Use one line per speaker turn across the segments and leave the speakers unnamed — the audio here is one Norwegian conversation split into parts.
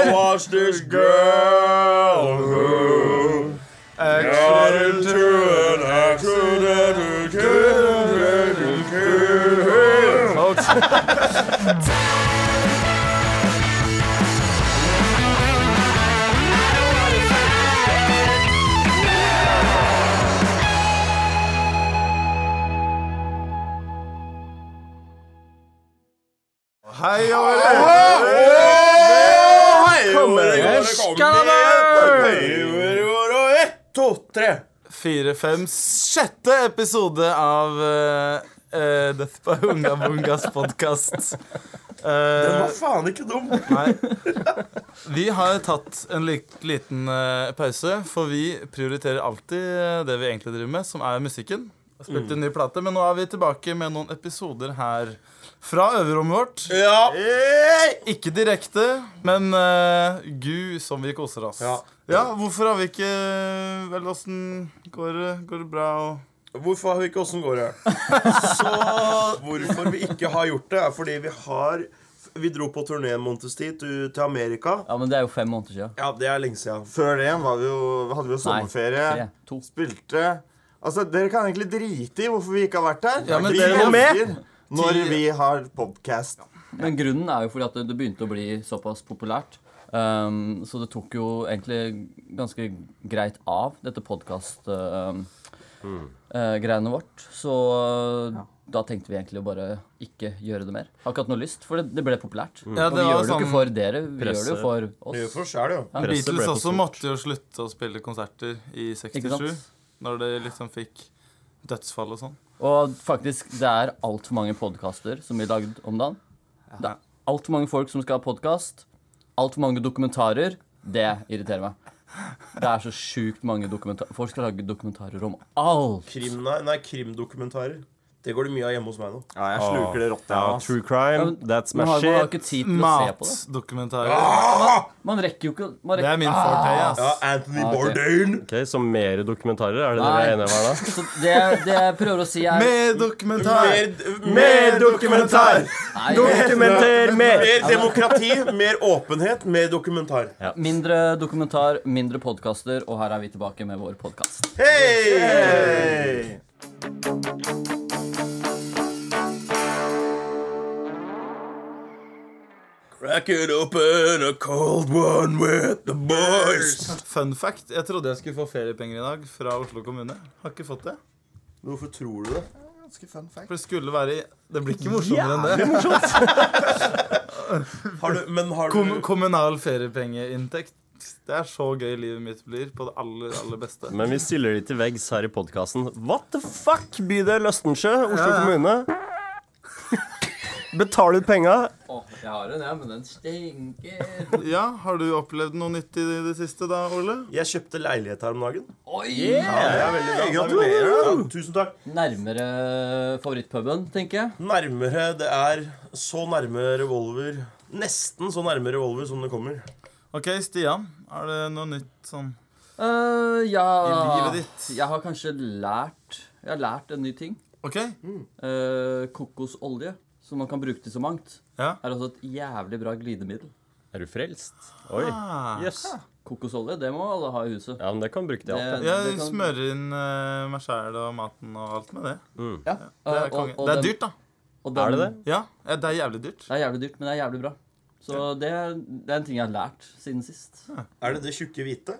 Justice girl who got into an accident and killed and killed her.
Hei og velkommen! Fire, fem, sjette episode av eh, eh, Death by Unga Bungas Eh, podkast.
Faen, ikke dum.
vi har tatt en li liten eh, pause, for vi prioriterer alltid eh, det vi egentlig driver med, som er musikken. Jeg Spilte en ny plate, men nå er vi tilbake med noen episoder her fra øverrommet vårt.
Ja.
Ikke direkte, men uh, gud som vi koser oss. Ja.
Ja.
Hvorfor har vi ikke eh, Vel, åssen går det? Går det bra? Og
Hvorfor har vi ikke åssen går det? Så hvorfor vi ikke har gjort det, er fordi vi har Vi dro på turné en måneds tid til til Amerika.
Ja, men det er jo fem måneder siden.
Ja, det er lenge siden.
Før det igjen var vi jo, hadde vi jo sommerferie.
tre, to.
Spilte Altså, Dere kan egentlig drite i hvorfor vi ikke har vært der.
Ja, men
vi
dere
elsker
var
når
Ti-
vi har podcast.
Men grunnen er jo fordi at det, det begynte å bli såpass populært. Ehm, så det tok jo egentlig ganske greit av, dette podkast-greiene vårt. Så eh, da tenkte vi egentlig å bare ikke gjøre det mer. Har ikke hatt noe lyst, for det, det ble populært.
Ja,
Og
det var
vi gjør det jo ikke
sånn
for dere, vi gjør det jo for oss.
Gjør for sjæl, jo.
Presset ble
Beatles
for
også
stort.
måtte jo slutte å spille konserter i
Ikke
67,
sant?
når de liksom fikk dødsfall og sånn.
Og faktisk, det er altfor mange podkaster som blir lagd om dagen. Det er altfor mange folk som skal ha podkast. Altfor mange dokumentarer. Det irriterer meg. Det er så sjukt mange dokumentarer. Folk skal lage dokumentarer om alt.
Krim, nei, nei, krimdokumentarer. Det går det mye av hjemme hos meg nå.
Ja, jeg sluker det rått, jeg.
Ja,
altså.
true crime, that's my
Man har, man har
shit.
ikke tid til å se på det.
Matdokumentarer.
Man rekker jo ikke man
Det
rekker,
er min forte, ass.
Ja, Ah, Anthony
ok.
Bourdain.
Ok, Så mer dokumentarer, er det det vi er enige om her da?
Så det, det jeg prøver å si, er
Mer dokumentar!
mer dokumentar!
Nei,
Dokumenter mer!
Mer demokrati, mer åpenhet, mer dokumentar.
mindre dokumentar, mindre podkaster, og her er vi tilbake med vår podkast.
Hei!
Hey.
Crack it open a cold one with the boys.
Fun fact, jeg trodde jeg skulle få feriepenger i dag fra Oslo kommune. Har ikke fått det.
Hvorfor tror du det?
For det skulle være i Det blir ikke morsommere enn det.
Har du, men har
Kom,
du
kommunal feriepengeinntekt. Det er så gøy livet mitt blir på det aller, aller beste.
Men vi stiller de til veggs her i podkasten. What the fuck, bydel Østensjø, Oslo kommune. Betal ut penga.
Åh, jeg har en, jeg, men den stinker.
Ja, Har du opplevd noe nytt i det siste da, Ole?
Jeg kjøpte leilighet her om dagen.
Oi!
Det er veldig bra. Gratulerer. Ja, tusen takk.
Nærmere favorittpuben, tenker jeg.
Nærmere det er så nærme revolver Nesten så nærme revolver som det kommer.
Ok, Stian. Er det noe nytt sånn
Eh, ja,
I livet ditt.
Jeg har kanskje lært Jeg har lært en ny ting.
OK?
Eh, kokosolje, som man kan bruke til så mangt,
Ja.
er altså et jævlig bra glidemiddel.
Er du frelst? Oi.
Ah.
Jøss. Yes.
Kokosolje, det må alle ha i huset.
Ja, men det kan bruke til alt.
Det-
Jeg
det kan-
smører inn eh, meg sjæl og maten og alt med det.
Ja.
Det
eh,
er, konge. det
den-
er dyrt, da.
og
Er
den-
det det?
Ja, ja, det er jævlig dyrt.
Det er jævlig dyrt, men det er jævlig bra. Så det, er- det er en ting jeg har lært siden sist.
Er det det tjukke hvite?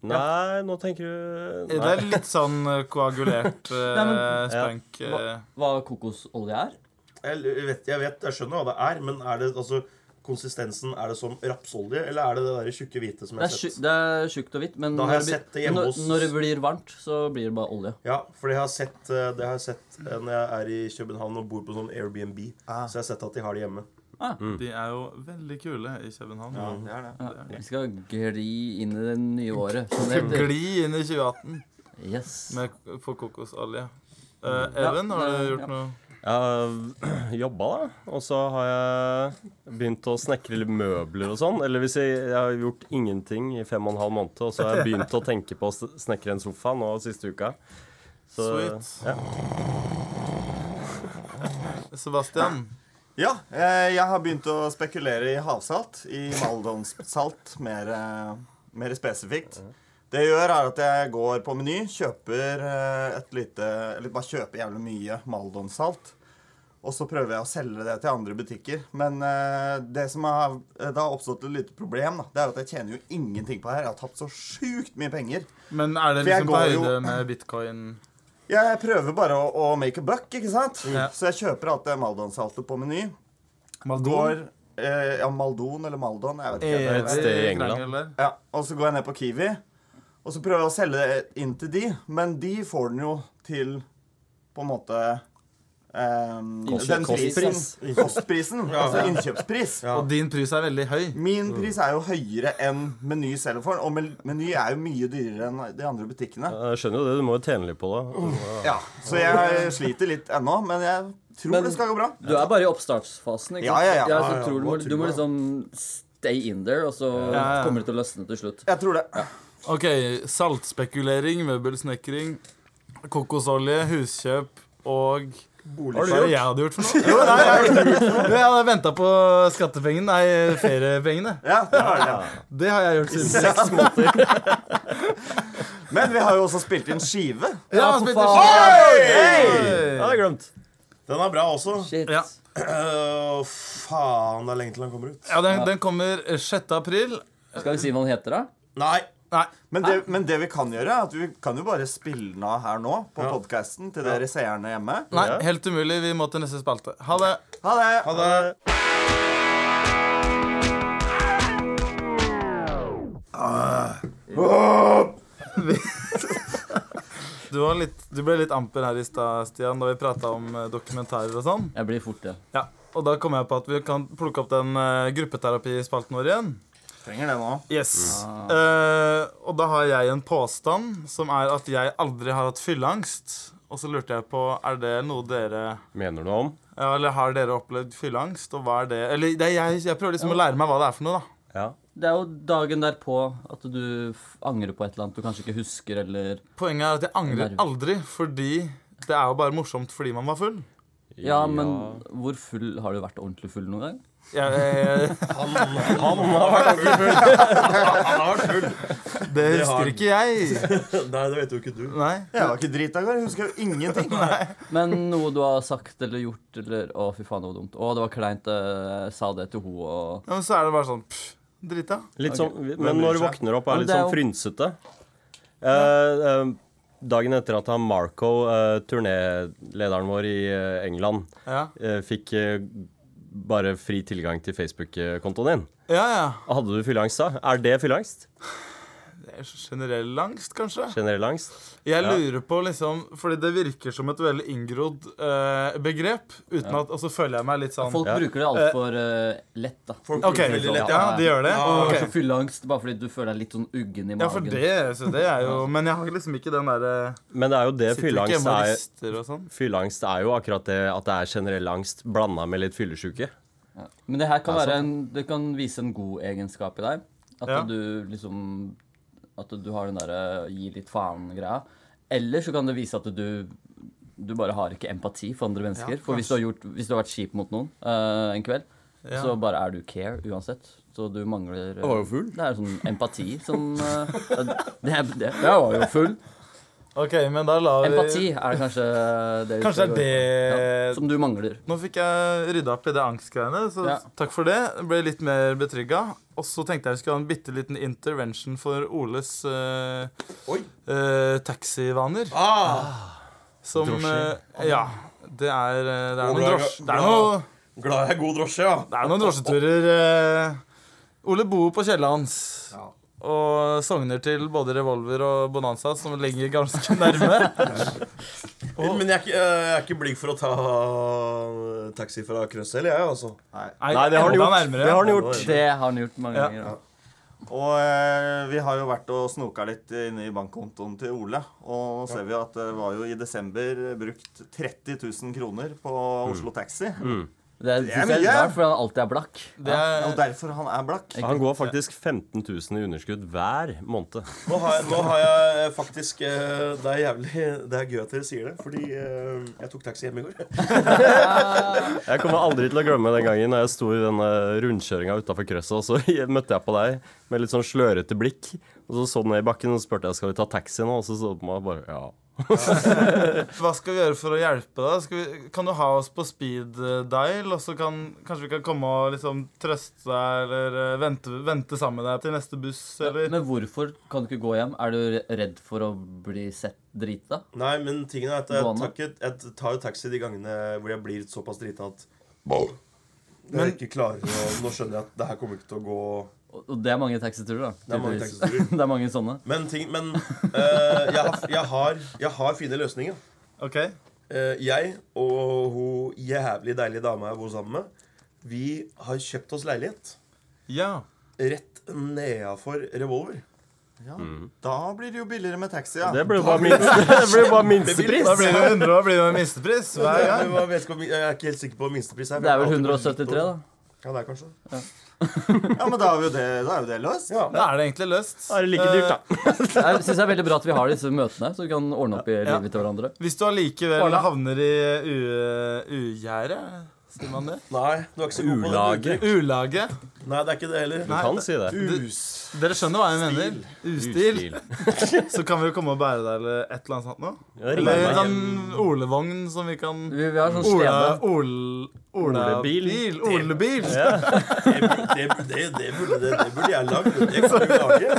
Nei, nå tenker du
Det er litt sånn eh, koagulert
Nei,
eh,
men-
sprank. eh.
Hva kokosolje er?
Jeg vet, jeg vet, jeg skjønner hva det er, men er det altså konsistensen Er det som rapsolje, eller er det det der tjukke hvite som
Det er,
jeg har
tju-
sett?
det er tjukt og hvitt, men
Da har
når
jeg
blir-
sett det hjemme
når,
hos-
når det blir varmt, så blir det bare olje.
Ja, for det har jeg sett, eh, det har jeg sett eh, når jeg er i København og bor på sånn Airbnb. Så jeg har sett at de har det hjemme.
Mm.
De er jo veldig kule i København.
Vi skal gli inn i det nye året. som det heter.
Gli inn i 2018
Yes.
med, på kokosolje. Eh, Even, har du
det- ja.
gjort noe?
Jeg har jobba, da. Og så har jeg begynt å snekre litt møbler og sånn. Eller hvis jeg, jeg har gjort ingenting i fem og en halv måned, og så har jeg begynt å tenke på å s- snekre en sofa nå siste uka. Så,
Sweet. Sebastian,
Ja, eh, jeg har begynt å spekulere i havsalt. I maldonsalt, mer, eh, mer spesifikt. Det jeg gjør, er at jeg går på Meny, kjøper eh, et lite Eller bare kjøper jævlig mye maldonsalt. Og så prøver jeg å selge det til andre butikker. Men eh, det som har, eh, det har oppstått et lite problem, da, det er at jeg tjener jo ingenting på det her. Jeg har tapt så sjukt mye penger.
Men er det
For jeg
liksom på
går jo-
høyde med bitcoin?
Jeg prøver bare å, å make a buck, ikke sant?
Ja.
Så jeg kjøper alt det maldonsaltet på Meny.
Maldon?
Går eh, Ja, Maldon eller Maldon, jeg vet ikke.
Eh.
er et sted i England.
Ja, og så går jeg ned på Kiwi, og så prøver jeg å selge det inn til de, men de får den jo til på en måte ehm,
Kost-
den prisen.
kostpris.
Kostprisen. Altså innkjøpspris.
Og din pris er veldig høy.
Min pris er jo høyere enn Meny selger for den, og Men- Meny er jo mye dyrere enn de andre butikkene.
Jeg skjønner jo det, du må jo tjene litt på det.
Ja, Så jeg sliter litt ennå, men jeg tror
Men-
det skal gå bra.
Du er bare i oppstartsfasen. ikke
Ja,
sant?
ja, ja.
Jeg
Ja, ja,
tror du, må,
hva tror
du må
jeg?
liksom stay in there, og så
ja.
kommer det til å løsne til slutt.
Jeg tror det.
Ok, saltspekulering, møbelsnekring, kokosolje, huskjøp og Hva er det jeg hadde gjort for noe? Jo, nei, jeg, jeg hadde venta på skattepengene, nei, feriepengene.
Ja, det har det.
Det har jeg gjort siden.
Men vi har jo også spilt inn skive.
Ja,
for
spilte
Jeg hadde glemt.
Den er bra også.
Shit.
Ja.
Eh, faen, det er lenge til den kommer ut.
Ja, den, den kommer 6. april.
Skal vi si hva den heter, da?
Nei.
Nei.
Men det, men det vi kan gjøre, er at vi kan jo bare spille den av her nå på podcasten podkasten til dere seerne hjemme.
Nei, helt umulig. Vi må til neste spalte. Ha det.
Ha det!
Ha det.
Du, var litt, du ble litt amper her i stad, Stian, da vi prata om eh, dokumentarer og sånn.
Jeg blir fort det.
Ja, Og da kom jeg på at vi kan plukke opp den eh, gruppeterapispalten vår igjen.
Trenger det nå.
Yes. Eh, og da har jeg en påstand, som er at jeg aldri har hatt fylleangst. Og så lurte jeg på, er det noe dere
Mener du noe om?
ja, Eller har dere opplevd fylleangst, og hva er det Eller det, er jeg, jeg prøver liksom å lære meg hva det er for noe, da.
Ja.
Det er jo dagen derpå at du f- angrer på et eller annet du kanskje ikke husker, eller
Poenget er at jeg angrer
Nerv.
aldri, fordi det er jo bare morsomt fordi man var full.
Ja, men hvor full har du vært ordentlig full noen gang?
Jeg, jeg,
Han har vært
Han har vært full.
det
Det har
husker
den.
ikke jeg.
Nei, det vet jo ikke du.
Nei.
Jeg var ikke drita i går. Jeg husker jo ingenting.
Men noe du har sagt eller gjort eller Å, fy faen, det var dumt. Å, det var kleint. eh, Jeg sa det til ho og
Ja, men så er det bare sånn pff, drita.
Litt sånn, men når du våkner opp, er
Men
litt
det er
sånn
jo-
frynsete. Eh, eh, dagen etter at han Marco, eh, turnélederen vår i eh, England,
Ja.
eh, fikk eh, bare fri tilgang til Facebook-kontoen din
ja, ja.
Hadde du fylleangst da? Er det fylleangst?
Det er generell angst, kanskje.
Generell angst?
Jeg
Ja.
lurer på liksom Fordi det virker som et veldig inngrodd eh, begrep. Uten at, Og så føler jeg meg litt sånn
Folk
Ja.
bruker det altfor uh, lett, da.
Folk
Ok,
bruker veldig lett.
ja, de gjør det?
Ja,
Ok.
Kanskje fylleangst bare fordi du føler deg litt sånn uggen i magen.
Ja, for det, så det er jo Men jeg har liksom ikke den derre
Men det er jo det
Sitter ikke
fylleangst
hjemme og
er.
rister og sånn.
Fylleangst er jo akkurat det at det er generell angst blanda med litt fyllesyke.
Men det her kan,
Ja,
være en, det kan vise en god egenskap i deg. At
Ja.
du liksom At du har den derre gi litt faen-greia. Eller så kan det vise at du du bare har ikke empati for andre mennesker. for hvis du, har gjort, hvis du har vært kjip mot noen eh, en kveld,
Ja.
så bare er du care uansett. Så du mangler eh,
var jo full.
Det er sånn empati som eh, det, er- det, Jeg var jo full.
OK, men da lar vi
Empati er kanskje det vi
Kanskje
skal
det
gå
er
i.
det
ja, Som du mangler.
Nå fikk jeg rydda opp i det angstgreiene, så
Ja.
takk for det. Jeg Ble litt mer betrygga. Og så tenkte jeg vi skulle ha en bitte liten intervention for Oles eh,
Oi.
eh, taxivaner.
Ah,
Som
Drosjer.
eh, Ja. Det er, eh, det er noen
Ola,
drosjer Det er
bra.
noe
glad jeg er god drosje, ja.
Det er noen drosjeturer. Eh, Ole bor på kjellet hans. Og sogner til både Revolver og Bonanza, som ligger ganske nærme.
Men jeg er, ikke, eh, jeg er ikke blig for å ta eh, taxi fra Krødsel, jeg, altså.
Nei, det har han
enda
gjort.
nærmere.
Det har han
Oi.
gjort.
Det har han gjort mange
Ja.
ganger. da.
Og eh, vi har jo vært og snoka litt inne i bankkontoen til Ole. Og nå ser vi eh,
Mm.
at det var jo i desember brukt 30 000 kroner på Oslo Taxi.
Det syns jeg er
mye.
litt rart, fordi han alltid er blakk.
Det
Eh, Og
er,
derfor han er blakk.
Han går faktisk 15 000 i underskudd hver måned.
Nå har jeg, nå har jeg faktisk eh, Det er jævlig Det er gøy at dere sier det, fordi eh, jeg tok taxi hjem i går.
Jeg kommer aldri til å glemme den gangen når jeg sto i denne rundkjøringa utafor krøsset, og så møtte jeg på deg med litt sånn slørete blikk. Og så så du ned i bakken og så spurte jeg skal vi ta taxi nå, og så så du på meg og bare ja.
hva skal vi gjøre for å hjelpe deg? Skal vi, kan du ha oss på speed eh, dial, og så kan kanskje vi kan komme og liksom trøste deg, eller eh, vente, vente sammen med deg til neste buss, eller
Men hvorfor kan du ikke gå hjem? Er du re- redd for å bli sett drita?
Nei, men tingen er at jeg,
Gående.
tar ikke, jeg tar jo taxi de gangene hvor jeg blir såpass drita at jeg ikke klarer å Nå skjønner jeg at det her kommer ikke til å gå
Og og det er mange taxiturer, da.
Det er mange
tydeligvis.
taxiturer.
det er mange sånne.
Men, ting, men eh, jeg, har, jeg, har, jeg har fine løsninger.
OK?
Eh, jeg og hun jævlig deilige dama jeg bor sammen med, vi har kjøpt oss leilighet
Ja.
rett nedafor Revolver.
Ja. Da blir det jo billigere med taxi, ja.
Det ble jo bare, minste, det ble jo bare minstepris.
Da blir det 100, da blir det en minstepris hver gang.
Jeg, vet ikke, om- jeg er ikke helt sikker på minstepris her.
Det er vel 173, da.
Ja, det er kanskje
Ja, men da er jo det, da er jo det løst.
ja.
Da er det egentlig løst. Eh,
Da er det like dyrt, da.
Jeg syns det er veldig bra at vi har disse møtene, så vi kan ordne opp i livet til hverandre.
Hvis du allikevel
Orla.
havner i u- eh, ugjerdet, sier man det?
Nei, du er ikke så god på det.
Ulaget.
Ulaget.
Nei, det er ikke det heller.
Du kan si det.
Us.
Dere skjønner hva jeg mener? Ustil.
Ustil.
Så kan vi jo komme og bære deg eller et eller annet sånt nå
Ja, ring
Eller
meg.
en sånn olevogn som vi kan
Vi, vi har sånn
Ola,
stene.
Ol...
Olebil.
Olabil. Olebil.
Det, det, det, burde, det, det burde jeg lagd. Det kan du lage.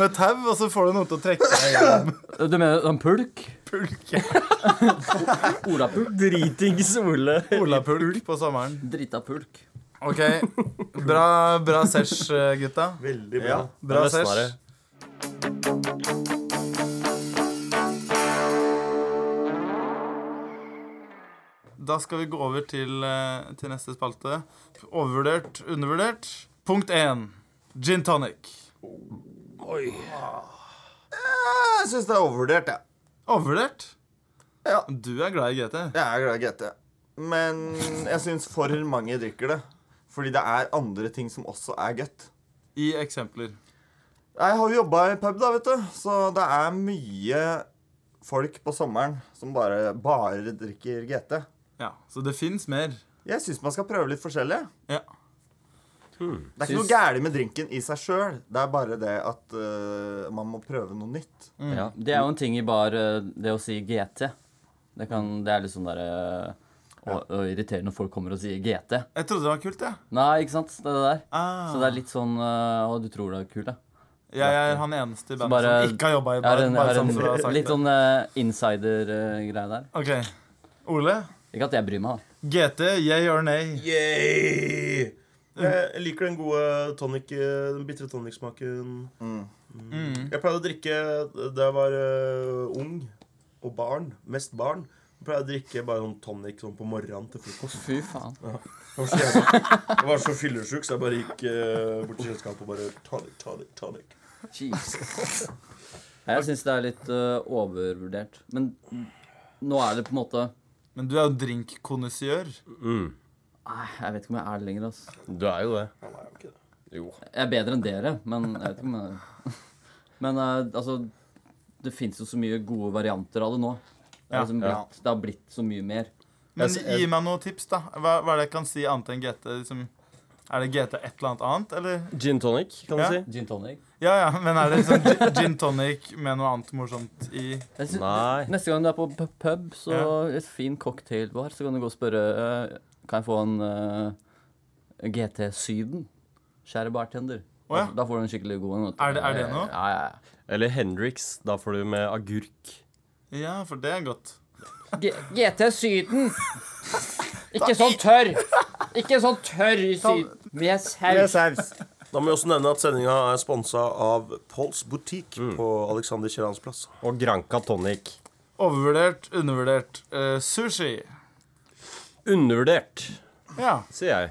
Med tau, og så får du noe til å trekke deg gjennom
Du mener sånn pulk?
pulken.
Olapulk?
Dritings Ole.
Olapulk på sommeren.
Drita pulk.
OK. Bra, bra sesh, gutta.
Veldig bra.
Bra
Det er nesten
sesh. Da skal vi gå over til, eh, til neste spalte. Overvurdert, undervurdert. Punkt én. Gin tonic.
Jeg syns det er overvurdert, jeg.
Overvurdert?
Ja.
Du er glad i GT.
Jeg er glad i GT. Men jeg syns for mange drikker det. Fordi det er andre ting som også er gøtt.
I eksempler.
Jeg har jo jobba i pub, da, vet du. Så det er mye folk på sommeren som bare, bare drikker GT.
Ja, Så det fins mer.
Jeg syns man skal prøve litt forskjellig.
Ja. Hmm.
Det er ikke noe gærent med drinken i seg sjøl. Det er bare det at øh, man må prøve noe nytt.
Mm.
Ja. Det er jo en ting i bar, eh, det å si GT. Det, kan, det er litt sånn derre å, å irritere når folk kommer og sier GT.
Jeg trodde det var kult, jeg.
Nei, ikke sant? Det er det der.
Ah.
Så det er litt sånn eh, Å, du tror det er kult, ja.
Jeg er han eneste i bandet
bare-
som ikke har jobba i
Jeg har
bar.
en, jeg
Bare
har
sånn for å ha
en
sagt
litt
det.
sånn insider-greie der.
Ok. Ole.
Ikke at jeg bryr meg, da.
GT, yeah or nay?
Yay! Jeg liker den gode tonic, eh, den bitre tonic-smaken.
Mm.
Jeg pleide å drikke da jeg var eh, ung og barn. Mest barn. Jeg pleide å drikke bare sånn tonic sånn på morgenen til frokost.
Fy faen.
Jeg var så, jævla- jeg var så fyllesyk, så jeg bare gikk eh, bort til kjøleskapet og bare tonic, tonic, tonic.
Jesus. Jeg syns det er litt eh, overvurdert. Men mm, nå er det på en måte
Men du er jo drinkkonnoisseur.
Nei, ah, Jeg vet ikke om jeg er det lenger. Altså.
Mm, Du er jo det.
Nei, det er jo ikke det.
Jo.
Jeg er bedre enn dere, men jeg vet ikke om jeg Men eh, altså Det fins jo så mye gode varianter av det nå. Det, er
Ja,
liksom blitt, det har blitt så mye mer.
Men
Jeg s-
gi meg noen tips, da. Hva, hva er det jeg kan si annet enn GT? Liksom, er det GT et eller annet annet, eller?
Gin tonic, kan
Ja.
du si.
Gin tonic.
Ja, ja, men er det liksom gin- gin tonic med noe annet morsomt i
Jeg synes,
Nei.
Neste gang du er på pu- pub, så et fin cocktailbar, så kan du gå og spørre eh, Kan jeg få en eh, GT Syden? Kjære bartender.
Å, ja.
Da- Da får du en skikkelig god en. vet du.
Er det- er det noe?
Ja, ja, ja.
Eller Hendrix. Da får du med agurk.
Ja, for det er godt.
G GT Syden. Ikke sånn tørr. Ikke sånn tørr i Syden. Med saus.
Da må vi også nevne at sendinga er sponsa av Pols Butikk på Alexander Kiellands plass.
Og Granca tonic.
Overvurdert, undervurdert. Eh, sushi.
Undervurdert,
Ja.
sier jeg.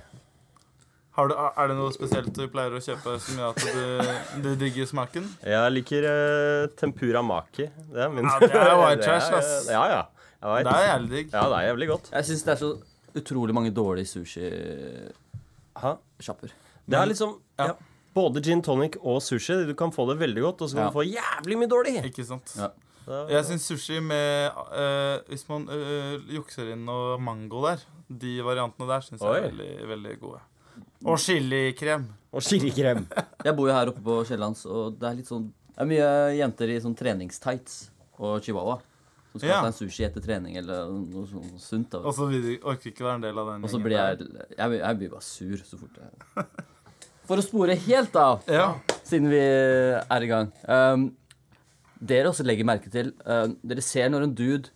Har du, er det noe spesielt du pleier å kjøpe som gjør at du, du digger smaken?
Jeg liker eh, tempura maki. Det er min.
Ja, det er white
Det
trash, ass.
Ja, ja. Jeg vet.
Det er jævlig digg.
Ja, det er jævlig godt.
Jeg syns det er så utrolig mange dårlige sushisjapper.
Hæ? Det er liksom ja. både gin tonic og sushi. Du kan få det veldig godt, og så kan
Ja.
du få jævlig mye dårlig.
Ikke sant?
Ja.
Jeg syns sushi med eh, Hvis man eh, jukser inn noe mango der, de variantene der, syns jeg er
Oi.
veldig, veldig gode. Og chilikrem.
Og chilikrem.
Jeg bor jo her oppe på Kiellands, og det er litt sånn Det er mye jenter i sånn treningstights og chihuahua som skal
Ja.
ha seg en sushi etter trening eller noe sånt sunt. da.
Og så vil de- orker ikke være en del av den.
Og så
gjengen
blir jeg,
der.
jeg Jeg blir bare sur så fort jeg For å spore helt av,
Ja.
siden vi er i gang Ehm, Dere også legger merke til eh, Dere ser når en dude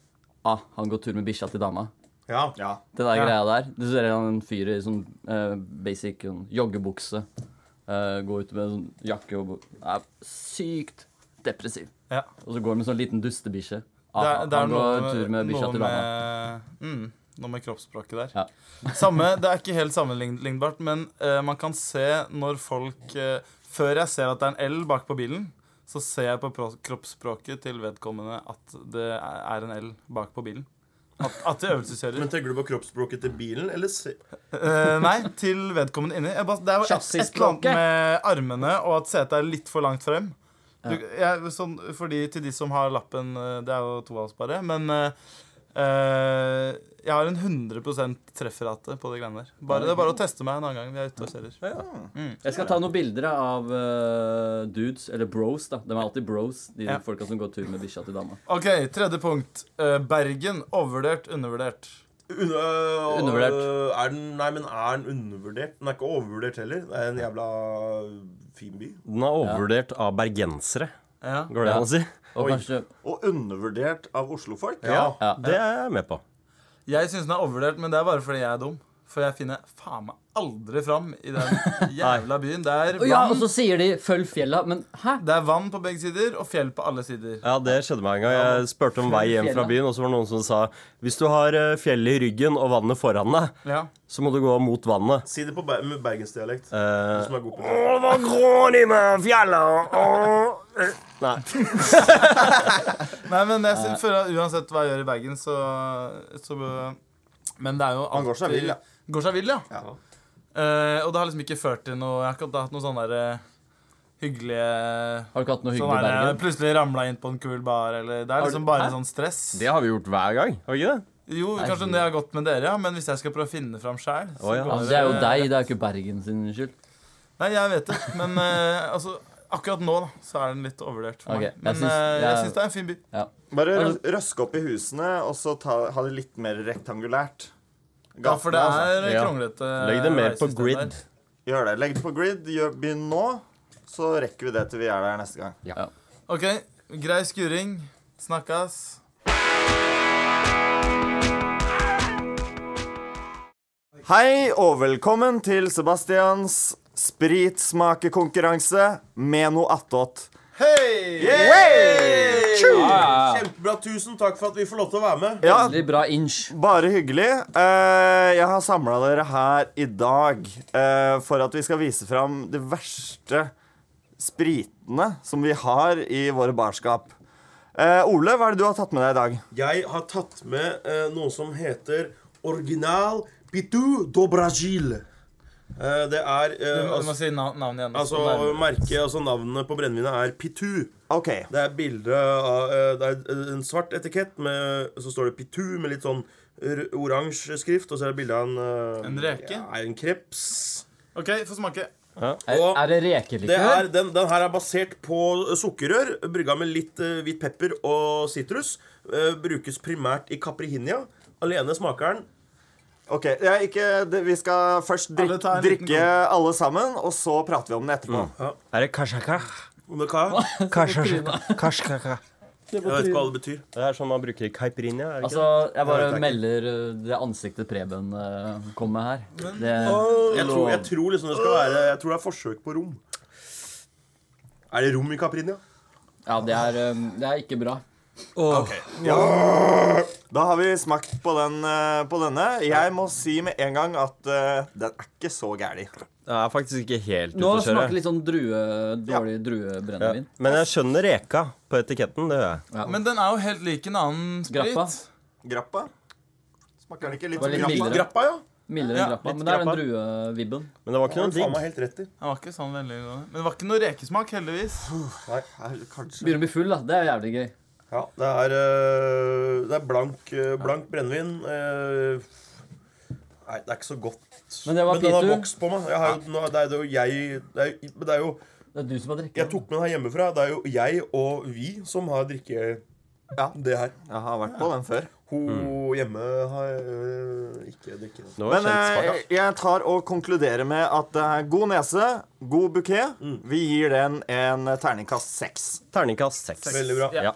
Ah, han går tur med bikkja til dama.
Ja.
Ja.
Det der
Ja.
greia der. Du ser han en fyr i sånn eh, basic sånn, joggebukse. eh, går ut med en sånn jakke og bu- Er sykt depressiv.
Ja.
Og så går han med sånn liten dustebikkje.
Det
Ah,
er, det er
han
noe
går
med,
tur med bikkja
noe
til dama.
med, mm, noe med kroppsspråket der.
Ja.
Samme, det er ikke helt sammenlignbart, men eh, man kan se når folk eh, Før jeg ser at det er en L bak på bilen, så ser jeg på pro- kroppsspråket til vedkommende at det er er en L bak på bilen. At, at de øvelseskjører.
Men tenker du på kroppsspråket til bilen, eller se...
Eh, nei, til vedkommende inni. Jeg bare, det er jo et, et eller annet
Chassisspråket.
med armene og at setet er litt for langt frem. Du, jeg, sånn, fordi til de som har lappen eh, Det er jo to av oss bare. Men eh, eh, jeg har en 100 trefferate på de greiene der. Bare, det er bare å teste meg en annen gang vi er ute og kjører.
Jeg skal ta noen bilder av eh, dudes, eller bros, da. De er alltid bros, de
Ja.
folka som går tur med bikkja til dama.
OK, tredje punkt. Eh, Bergen. Overvurdert, undervurdert.
Un øh,
Undervurdert.
øh, Er den, nei, men er den undervurdert? Den er ikke overvurdert heller. Det er en jævla øh, fin by.
Den er overvurdert av bergensere,
Ja.
går det
Ja.
an å si.
Og kanskje
Og undervurdert av oslofolk.
Ja.
Det er jeg med på.
Jeg syns den er overvurdert, men det er bare fordi jeg er dum. For jeg finner faen meg aldri fram i den jævla byen. Det er
Å ja,
vann
og så sier de 'følg fjella', men hæ?
Det er vann på begge sider og fjell på alle sider.
Ja, Det skjedde meg en gang. Jeg spurte om vei hjem fra byen, og så var det noen som sa hvis du har eh, fjellet i ryggen og vannet foran deg,
Ja.
så må du gå mot vannet.
Si det på ber med bergensdialekt.
Eh,
Som er god på det.
«Å, hva går de med fjellet? Å, eh». Nei.
Nei, men jeg
Eh.
synes, føler at uansett hva jeg gjør i Bergen, så, så Men det er jo
Man går seg vill, ja.
Går seg vill, ja.
Ja.
Eh, og det har liksom ikke ført til noe Jeg har ikke hatt noen sånne der, eh, hyggelige
Har du ikke hatt noe
Sånn
hyggelig i
der, eh,
Bergen?
plutselig ramla inn på en kul bar, eller Det er liksom bare sånn stress.
Det har vi gjort hver gang. Har vi ikke det?
Jo, kanskje når jeg har gått med dere, ja, men hvis jeg skal prøve å finne fram sjæl
Å, ja.
Altså, det er jo deg, det er jo ikke Bergen sin skyld.
Nei, jeg vet det, men eh, altså Akkurat nå, da, så er den litt overvurdert for
Ok, jeg
meg. Men
synes-
eh, jeg
jeg-
syns det er en fin by.
Bare rø- røske opp i husene, og så ta, ha det litt mer rektangulært. altså.
Ja, for det
Gatene,
er eh,
Ja.
kronglete.
Legg det mer på
veisystem
grid.
der.
altså. Gjør det. Legg det på grid. Gjør, begynn nå, så rekker vi det til vi er der neste gang.
Ok, grei skuring. Snakkes.
Hei og velkommen til Sebastians spritsmakekonkurranse med noe attåt.
Hei!
Ja, ja,
Kjempebra. Tusen takk for at vi får lov til å være med.
Ja,
ja. Veldig bra inch.
bare hyggelig. Eh, jeg har samla dere her i dag eh, for at vi skal vise fram det verste spritene som vi har i våre barskap. Eh, Ole, hva er det du har tatt med deg i dag?
Jeg har tatt med eh, noe som heter Original Pitu do Brasil. Eh, det er eh,
Du må, du må
altså,
si nav navnet igjen.
altså merket Altså navnet på brennevinet er Pitu.
OK.
Det er bilde av eh, Det er en svart etikett, med, så står det Pitu med litt sånn r- oransje skrift, og så er det bilde av en eh,
En reke?
Ja, en kreps.
OK, få smake.
Er,
Og-
er
Det
det
er,
rekelikør?
den, den her er basert på sukkerrør, brygga med litt eh, hvit pepper og sitrus. Eh, brukes primært i caprihinia. Alene smaker den
ok, ja, ikke, det, Vi skal først drik,
Alle tar en liten
drikke alle sammen, og så prater vi om det etterpå.
Er det kashaka?
Omeka. Jeg vet ikke hva det betyr.
Det er sånn man bruker i caipirinha. er det ikke
Altså, jeg bare melder uh, det ansiktet Preben uh, kom med her. Det,
Jeg tror, jeg tror liksom det skal være Jeg tror det er forsøk på rom. Er det rom i caprihinia?
ja, det er, um, det er ikke bra.
Da har vi smakt på, den, eh, på denne. Jeg må si med en gang at eh, den er ikke så gæli.
Det er faktisk ikke helt ute
Nå
å
smaker det
kjøre.
litt sånn drue, dårlig druebrennevin.
Men jeg skjønner reka på etiketten. det gjør jeg
Men den er jo helt lik en annen sprit.
Grappa.
Grappa. Smaker det ikke litt
Var
som
litt
grappa?
mildere.
Grappa, ja.
Mildere enn grappa.
litt
Men det er den
grappa.
druevibben.
Men det var ikke
Det har
noe
du faen
digg.
meg helt rett i.
Den var ikke sånn veldig god. Men det var ikke noe rekesmak, heldigvis.
Nei.
Nei, Kanskje.
Begynner å bli full, da. Det er jævlig gøy.
Ja, det er, øh, det er blank, øh, blank brennevin. øh, Nei, det er ikke så godt.
Men det var
den har
Pitu.
vokst på meg. Jeg har, jo- nå, det er jo jeg det er, jo- Men det er jo
Det er du som har drukket.
Jeg tok med den her hjemmefra. Det er jo jeg og vi som har drikke
Ja.
det her.
Jeg har vært på den før.
Hun hjemme har øh, ikke drikke det.
Det var
Men
kjent
eh,
smak.
jeg tar og konkluderer med at det er god nese, god bukett. Vi gir den en terningkast seks.
Terningkast seks.
Veldig bra.
Ja.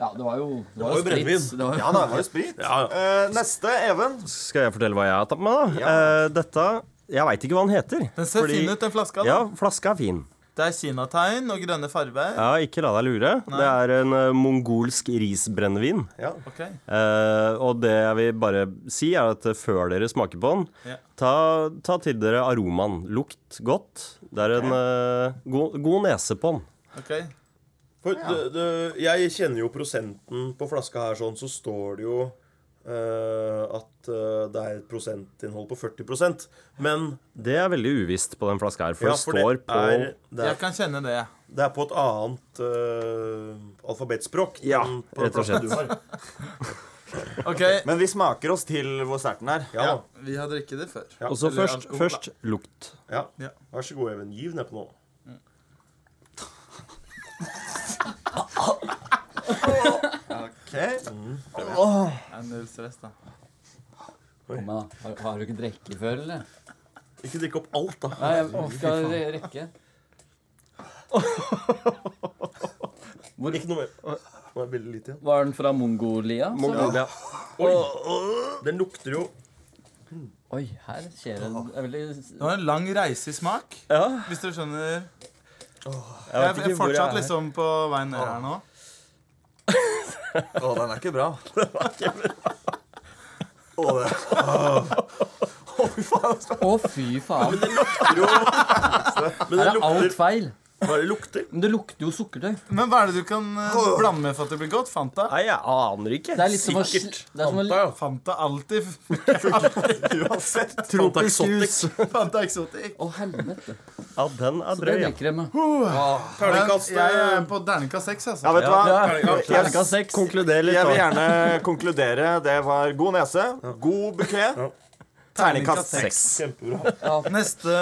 Ja, det var jo Det
var jo
sprit.
brennevin.
Det var jo
Ja, det var jo sprit. Eh, neste, Even.
Skal jeg fortelle hva jeg har tatt med, da? Eh, dette Jeg veit ikke hva den heter.
Den ser
Fordi-
fin ut, den flaska.
Ja,
da.
flaska er fin.
Det er kinategn og grønne farger.
Ja, ikke la deg lure. Det er en eh, mongolsk risbrennevin.
Ja.
Ok.
Eh, og det jeg vil bare si, er at eh, før dere smaker på den,
Ja.
ta, ta til dere aromaen. Lukt godt. Det er en eh, god, god nese på den.
ok.
For det- det- jeg kjenner jo prosenten på flaska her sånn, så står det jo øh, at øh, det er et prosentinnhold på 40 Men
Det er veldig uvisst på den flaska her, for
ja,
det
for det
står på
er, det
Jeg
er,
kan kjenne det.
det er på et annet øh, alfabetspråk.
Ja,
enn på den
rett og
flaska
slett.
du har.
Ok,
Men vi smaker oss til hvor sterk den er.
Ja, da.
vi har drukket det før.
Og så
Eller
først,
alkohol, da.
først lukt.
ja.
Ja.
Vær så god, Even. Giv nedpå nå.
Ok.
Det er null stress, da.
Kom igjen, da. Har, har du ikke drukket før, eller?
Ikke drikke opp alt, da.
Nei, jeg orker re- rekke.
Ikke noe mer. Nå er det veldig lite igjen.
Var den fra Mongolia? så?
Mongolia.
Den lukter jo
Oi, her skjer det det er veldig
Det var en lang reise i smak,
Ja.
hvis dere skjønner.
Jeg
Jeg
vet
er
ikke hvor jeg
fortsatt
er.
liksom på vei ned her nå.
Å, den er ikke bra. Å, det Å, fy faen.
Å, fy faen.
Men
Her
den
er alt
lukter
feil.
bare lukter.
Men det lukter jo sukkertøy.
Men hva er det du kan eh, blande med for at det blir godt? Fanta?
Nei, jeg aner ikke.
Det er litt som å sl- det er som å
Fanta, ja. Fanta alltid.
Uansett.
Tropisk jus.
Fanta eksotikk.
Å, helvete.
Ja, den er
Så det
drøy. ja.
liker jeg med.
Men
Terningkast
jeg
eh,
er på terningkast seks, altså.
Ja, vet du hva?
Terningkast seks.
Konkluder litt,
Jeg vil
da.
gjerne konkludere. Det var god nese, god bukett, terningkast seks.
Kjempebra.
Neste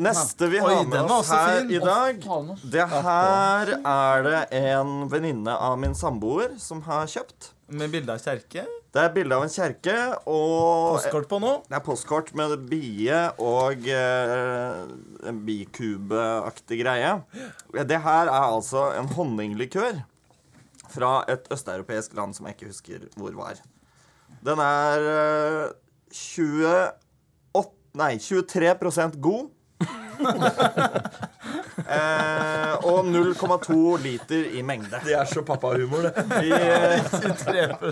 Neste vi
Oi,
har med
den var
oss
også
her
fin.
i dag
Faen, ass.
Det her er det en venninne av min samboer som har kjøpt.
med bilde av kjerke.
Det er bilde av en kjerke, og
Postkort på nå.
det er postkort med bie og eh, en bikubeaktig greie. Det her er altså en honninglikør fra et østeuropeisk land som jeg ikke husker hvor var. Den er eh, 28 Nei, 23 god. eh, og 0,2 liter i mengde.
Det er så pappahumor, det.
Vi, eh,
3%.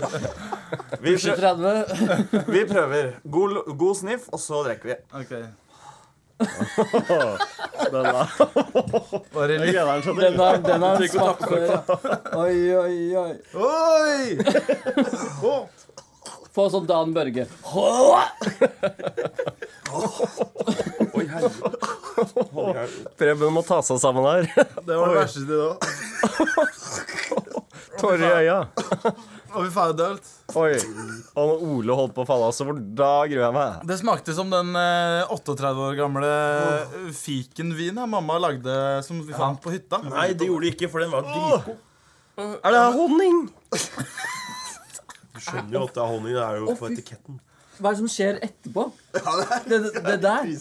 vi, prø
30.
vi prøver. God, god sniff, og så drikker vi.
Ok.
Den er-
Bare
jeg
litt.
gleder meg sånn.
Den har, den har smakt før. Oi, oi, oi.
Oi!
Få sånn Dan Børge.
Oi, helvete.
Preben må ta seg sammen her.
Det var det verste til da.
Tårer i øya.
Og vi faen dølt.
Oi. Og når Ole holdt på å falle av, så da gruer jeg meg.
Det smakte som den eh, 38 år gamle fikenvin her mamma lagde som vi fant på hytta.
Nei, det gjorde det ikke, for den var dritgod.
Er det honning?
Du skjønner jo at det er honning. Det er jo på
fy-
etiketten.
Hva er det som skjer etterpå? Det, det, det der.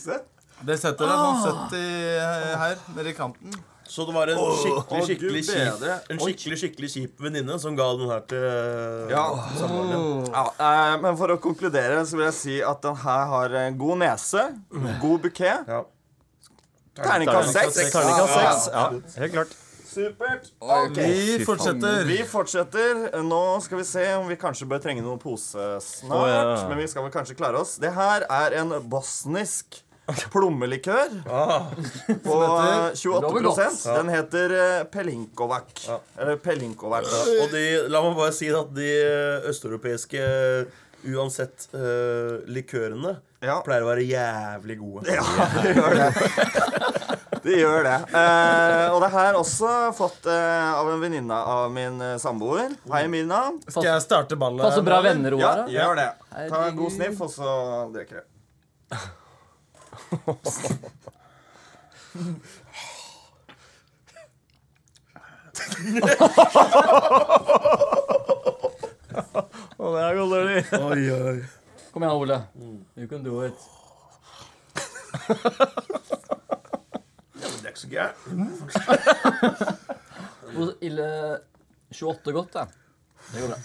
Det setter deg sånn 70 her, nede i kanten.
Så det var en skikkelig,
Å,
skikkelig
Gud
kjip
bedre.
En skikkelig, skikkelig kjip venninne som ga den her til eh,
Ja. sånn ja eh, men for å konkludere så vil jeg si at den her har eh, god nese, god bukett.
Ja.
Terningkast seks.
Terningkast seks. Ja, helt klart.
Supert.
Vi fortsetter.
Vi fortsetter. Nå skal vi se om vi kanskje bør trenge noen pose snart.
Å, ja.
Men vi skal vel kanskje klare oss. Det her er en bosnisk plommelikør på eh, 28 Den heter eh, Pelinkovac. Eller Pelinkovac.
Og de, la meg bare si at de eh, østeuropeiske eh, uansett eh, likørene,
Ja.
pleier å være jævlig gode.
Ja, de gjør det. De gjør det. Eh, og det her er også fått eh, av en venninne av min eh, samboer. Hei, Mina.
Skal jeg starte ballet?
Passe bra venner,
Ja,
Oara.
gjør det. Ta en god sniff, og så drikker du.
Kom igjen, Ole. You can Mm. do it.
Det er ikke så gærent.
Hvor ille 28 godt, da. Det går bra.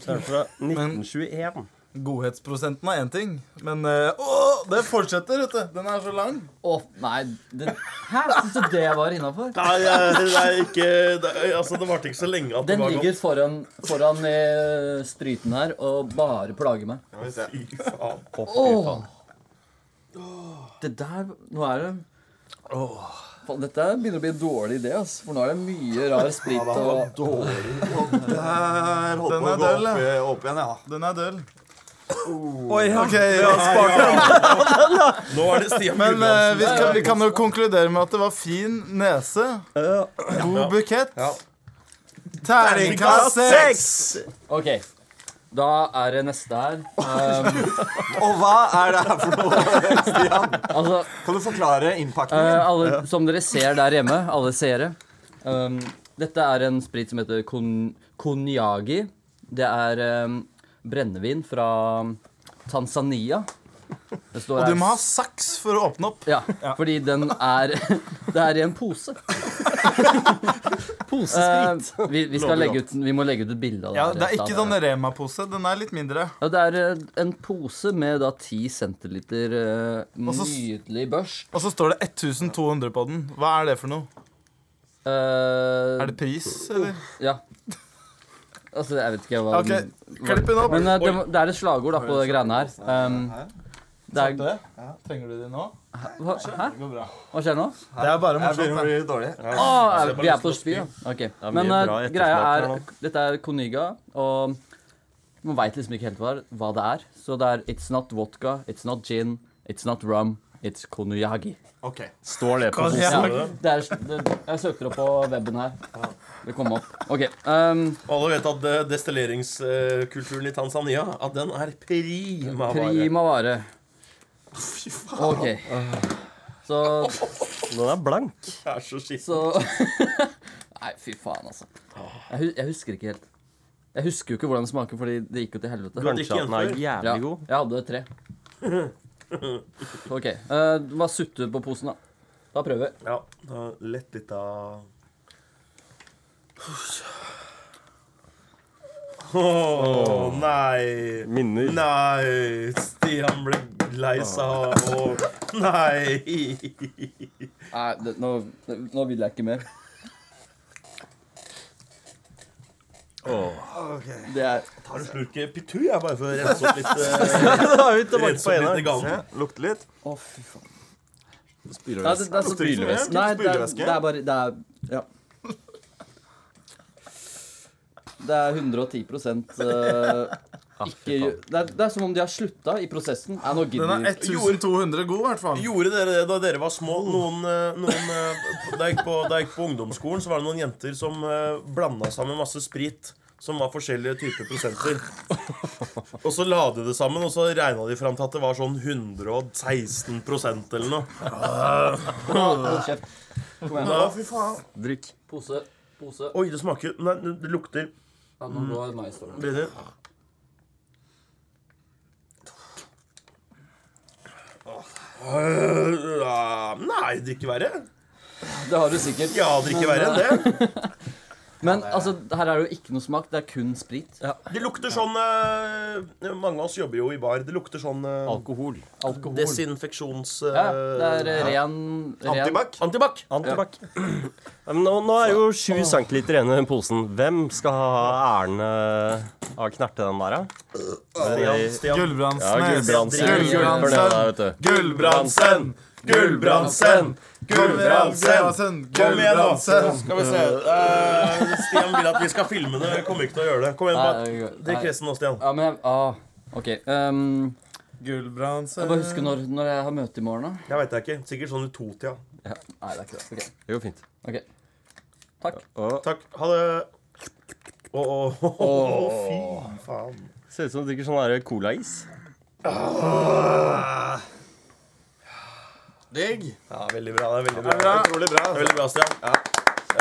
Så er det fra 1921.
Godhetsprosenten er én ting, men eh, Åh, det fortsetter, vet du. Den er så lang.
Å, nei det, Hæ? Syns du det var innafor?
Nei, det det er ikke det, er- Altså, det varte ikke så lenge at det
Den
var
ligger foran, foran eh, stryten her og bare plager meg.
Skal vi se.
godt. Fy faen.
Åh. Det der Nå er det Faen, Dette begynner å bli en dårlig idé, ass. For nå er det mye rar sprit og
Der holdt
Den
på å
er
gå
del,
opp, eh, opp igjen, ja.
Den er døll. Oi, ok, ja, spart
Nå er det Stian
Men eh, vi,
Gudlandsen.
skal, vi kan jo konkludere med at det var fin nese, god bukett, terningkast seks.
OK. Da er det neste her. Um,
Og hva er det her for noe, Stian?
altså,
Kan du forklare innpakningen?
eh, alle, som dere ser der hjemme, alle seere um, Dette er en sprit som heter kon konjagi. Det er um, brennevin fra Tanzania. Det står
Du
her
må ha saks for å åpne opp.
Ja, fordi den er Det er i en pose. Posesprit. vi, vi, skal legge ut, vi må legge ut et bilde av det.
Ja,
her,
Det er
da.
ikke sånn Rema-pose. Den er litt mindre.
Ja, det er eh, en pose med da 10 centiliter eh,
så s-
nydelig børst.
Og så står det 1200 på den. Hva er det for noe?
Eh,
Er det pris, eller?
Ja. Altså, jeg vet ikke hva
Ok, klipp den opp.
Men eh, det, må- det er et slagord da på det greiene her. Um, det er,
Trenger du det nå?
hva, hæ?
Det går bra.
Hva skjer nå?
Det er bare
Jeg begynner å
morsomt.
bli dårlig.
Åh, er-
jeg bare
vi er
lyst til
på
å
spy, ja. Ok.
er
Men
mye
eh,
bra
greia
ettersmak
er
her
Dette er Koniga, og man veit liksom ikke helt hva, hva det er. Så det er It's not vodka, it's not gin, it's not rum, it's konjagi.
Ok.
Står det på
da.
posen?
Ja, det er, det, jeg søkte det opp på weben her. Det kom opp. OK. ehm,
Alle vet at eh, destilleringskulturen i Tanzania At den er prima vare.
prima vare. OK. Så
Den er blank.
Det er så skitt.
Så Nei, fy faen, altså. Jeg, hu- jeg husker ikke helt. Jeg husker jo ikke hvordan det smaker, fordi det gikk jo til helvete.
hadde ikke
Kanskje at den er
gjennomført.
jævlig
Ja,
god.
jeg hadde tre. OK. eh, bare sutte på posen, da. Da prøver vi.
Ja, da lett litt av Å nei.
Minner.
Nei. Stian ble lei seg. Og nei.
Nei, det, nå, det, nå vil jeg ikke mer. Det er
Har du slurke pitu? Jeg bare for å rense opp litt. eh,
Da er vi tilbake
rense opp litt
på
i
eneren.
gangen.
Lukte litt.
Å, fy faen. Nei,
Spyler
det, det er så
Lukter ikke så mye.
Nei, det er,
Spylevæske.
det er bare Det er Ja. Det er 110 eh, ikke, det, er, det er som om de har slutta i prosessen. Nei, nå
Den
gidder
er
vi
1200 god, i hvert fall.
Gjorde dere det da dere var små? Noen, eh, noen, eh, da, jeg gikk på, da jeg gikk på ungdomsskolen, så var det noen jenter som eh, blanda sammen masse sprit. Som var forskjellige typer prosenter. Og så la de det sammen, og så regna de fram til at det var sånn 116 eller noe.
Hold kjeft. Kom igjen.
Å, fy faen.
Drikk.
Pose. Pose.
Oi, det smaker Nei, det lukter
Ja, nå går det mais over.
Brenner. Øh, Nei, det er ikke verre.
Det har du sikkert.
Ja, det er ikke verre enn det.
Men altså, her er det jo ikke noe smak. Det er kun sprit.
Det lukter sånn eh, Mange av oss jobber jo i bar. Det lukter sånn eh,
Alkohol.
Alkohol.
desinfeksjons... eh,
ja, det er eh, ren, ren
Antibac.
Antibac.
Antibac. Ja, men nå, nå er det jo 7 centiliter igjen i den posen. Hvem skal ha æren eh, av å knerte den der, da? Stian.
Stian.
Ja,
Gulbrandsen.
Gulbrandsen.
Gulbrandsen.
Gulbrandsen. vet du.
Gulbrandsen. Gulbrandsen. Gulbrandsen.
Kom igjen, da!
Gulbrandsen.
Skal vi se. Eh, Stian vil at vi skal filme det. Jeg kommer ikke til å gjøre det. Kom igjen,
Nei,
bare.
jeg-
Drikk
nei.
resten nå, Stian.
Ja, men jeg ah, OK. ehm, jeg bare husker
Gulbrandsen.
når, når jeg har møte i morgen, da.
Jeg veit ikke. Sikkert sånn i totida.
Ja. Nei, det er ikke det.
Det går fint.
OK. ok. Takk.
Å,
Takk. Ha det. Å, å, å, å, fy faen.
ser ut som du drikker sånn der colais.
Digg.
Ja, veldig bra. Det er veldig bra.
Utrolig bra.
Det
altså.
er veldig bra, Stian.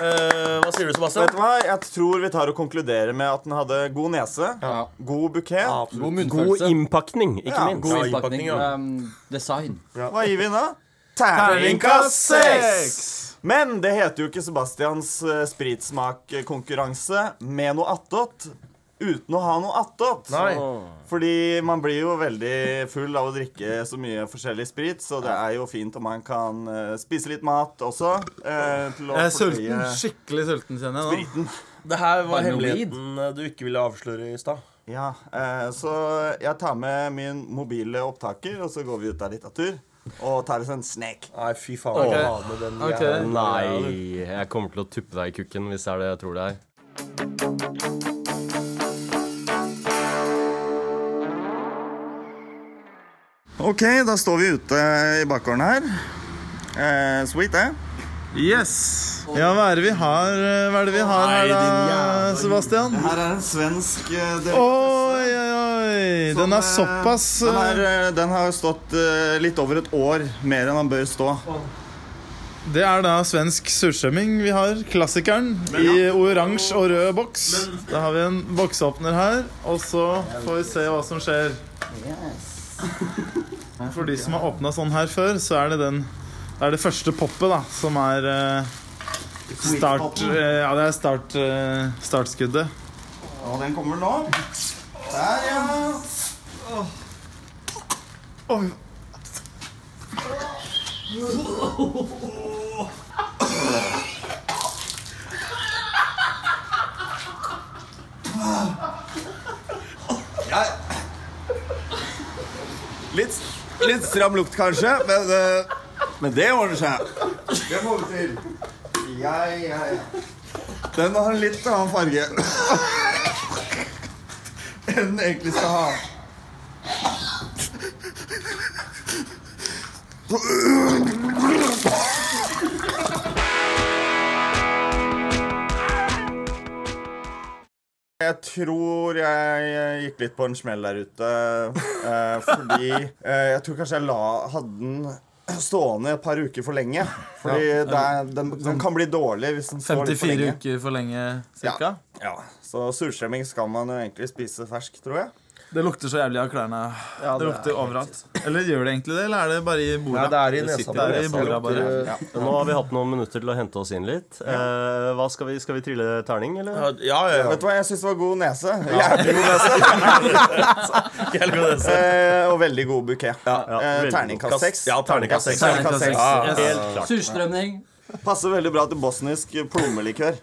Eh, hva sier du, Sebastian?
Vet du hva? Jeg tror vi tar og konkluderer med at den hadde god nese,
Ja.
god bukett.
God
God
munnfølelse.
innpakning, ikke
Ja,
minst.
god
God
innpakning,
innpakning.
ja.
Um,
ehm, design.
Hva gir vi den, da? Terningkast seks! Men det heter jo ikke Sebastians eh, spritsmakkonkurranse med noe attåt uten å ha noe attåt.
Nei.
Fordi man blir jo veldig full av å drikke så mye forskjellig sprit, så det er jo fint om man kan eh, spise litt mat også. eh, til å
Jeg er sulten.
fordøye
Skikkelig sulten, kjenner jeg nå.
spriten.
Det her var
Har du noe
hemmeligheten eh, du ikke ville avsløre i stad.
Ja, eh, så jeg tar med min mobile opptaker, og så går vi ut av litteratur og tar oss en snek.
Nei, fy faen.
Ok.
å ha med den
Ok.
jævla-
Nei, jeg kommer til å tuppe deg i kukken hvis det er det jeg tror det er.
Ok, da står vi ute i bakgården her. Eh, sweet, det.
Yes. Ja, hva er det vi har, eh, hva er det vi har her, da, Sebastian?
Her er en svensk eh, del-
Oi, oi, oi. Den Sånn er
Som, eh,
såpass
Den,
eh,
er, eh, den har stått eh, litt over et år mer enn den bør stå.
Det er da svensk surstrømming vi har. Klassikeren i oransje og rød boks. Da har vi en boksåpner her, og så får vi se hva som skjer. For de som har åpna sånn her før, så er det den Det er det første poppet, da, som er eh, start... eh, ja, det er start, eh, startskuddet.
Og den kommer nå. Der, ja.
Oi.
Litt, litt stram lukt, kanskje, men, eh, men det ordner seg. Det får vi til. Ja, ja, ja. Den har en litt annen farge enn den egentlig skal ha. Jeg tror jeg gikk litt på en smell der ute. eh, fordi eh, jeg tror kanskje jeg la, hadde den stående et par uker for lenge. Fordi det er, den, den kan bli dårlig hvis den står litt
54
for lenge.
uker for lenge, cirka.
Ja, Så surstrømming skal man jo egentlig spise fersk, tror jeg.
Det lukter så jævlig av klærne. det, lukter overalt. Eller gjør det egentlig det, eller er det bare i bordet?
Nei, det er i nesa.
sitter i bordet bare.
eh,
Nå har vi hatt noen minutter til å hente oss inn litt. Eh, hva skal vi, skal vi trille terning, eller?
Ja, ja, ja.
Vet du hva, jeg syns det var god nese. Jævlig god nese.
Helt god nese.
Eh, og veldig god bukett.
ja,
eh,
veldig god.
terningkast seks.
Ja, terningkast seks.
Terningkast seks.
Ja, ja.
Helt klart.
Surstrømning.
Passer veldig bra til bosnisk plommelikør.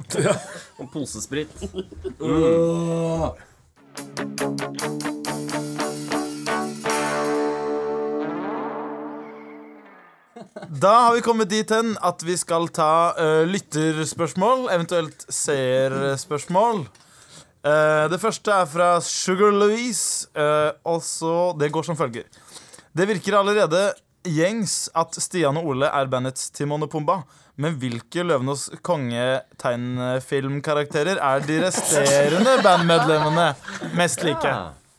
Og posesprit.
Da har vi kommet dit hen at vi skal ta eh, lytterspørsmål, eventuelt seerspørsmål. Eh, det første er fra Sugar Louise, eh, og så Det går som følger. Det virker allerede gjengs at Stian og Ole er bandets Timon og Pumba. Men hvilke Løvenes konge-tegnfilmkarakterer er de resterende bandmedlemmene mest like?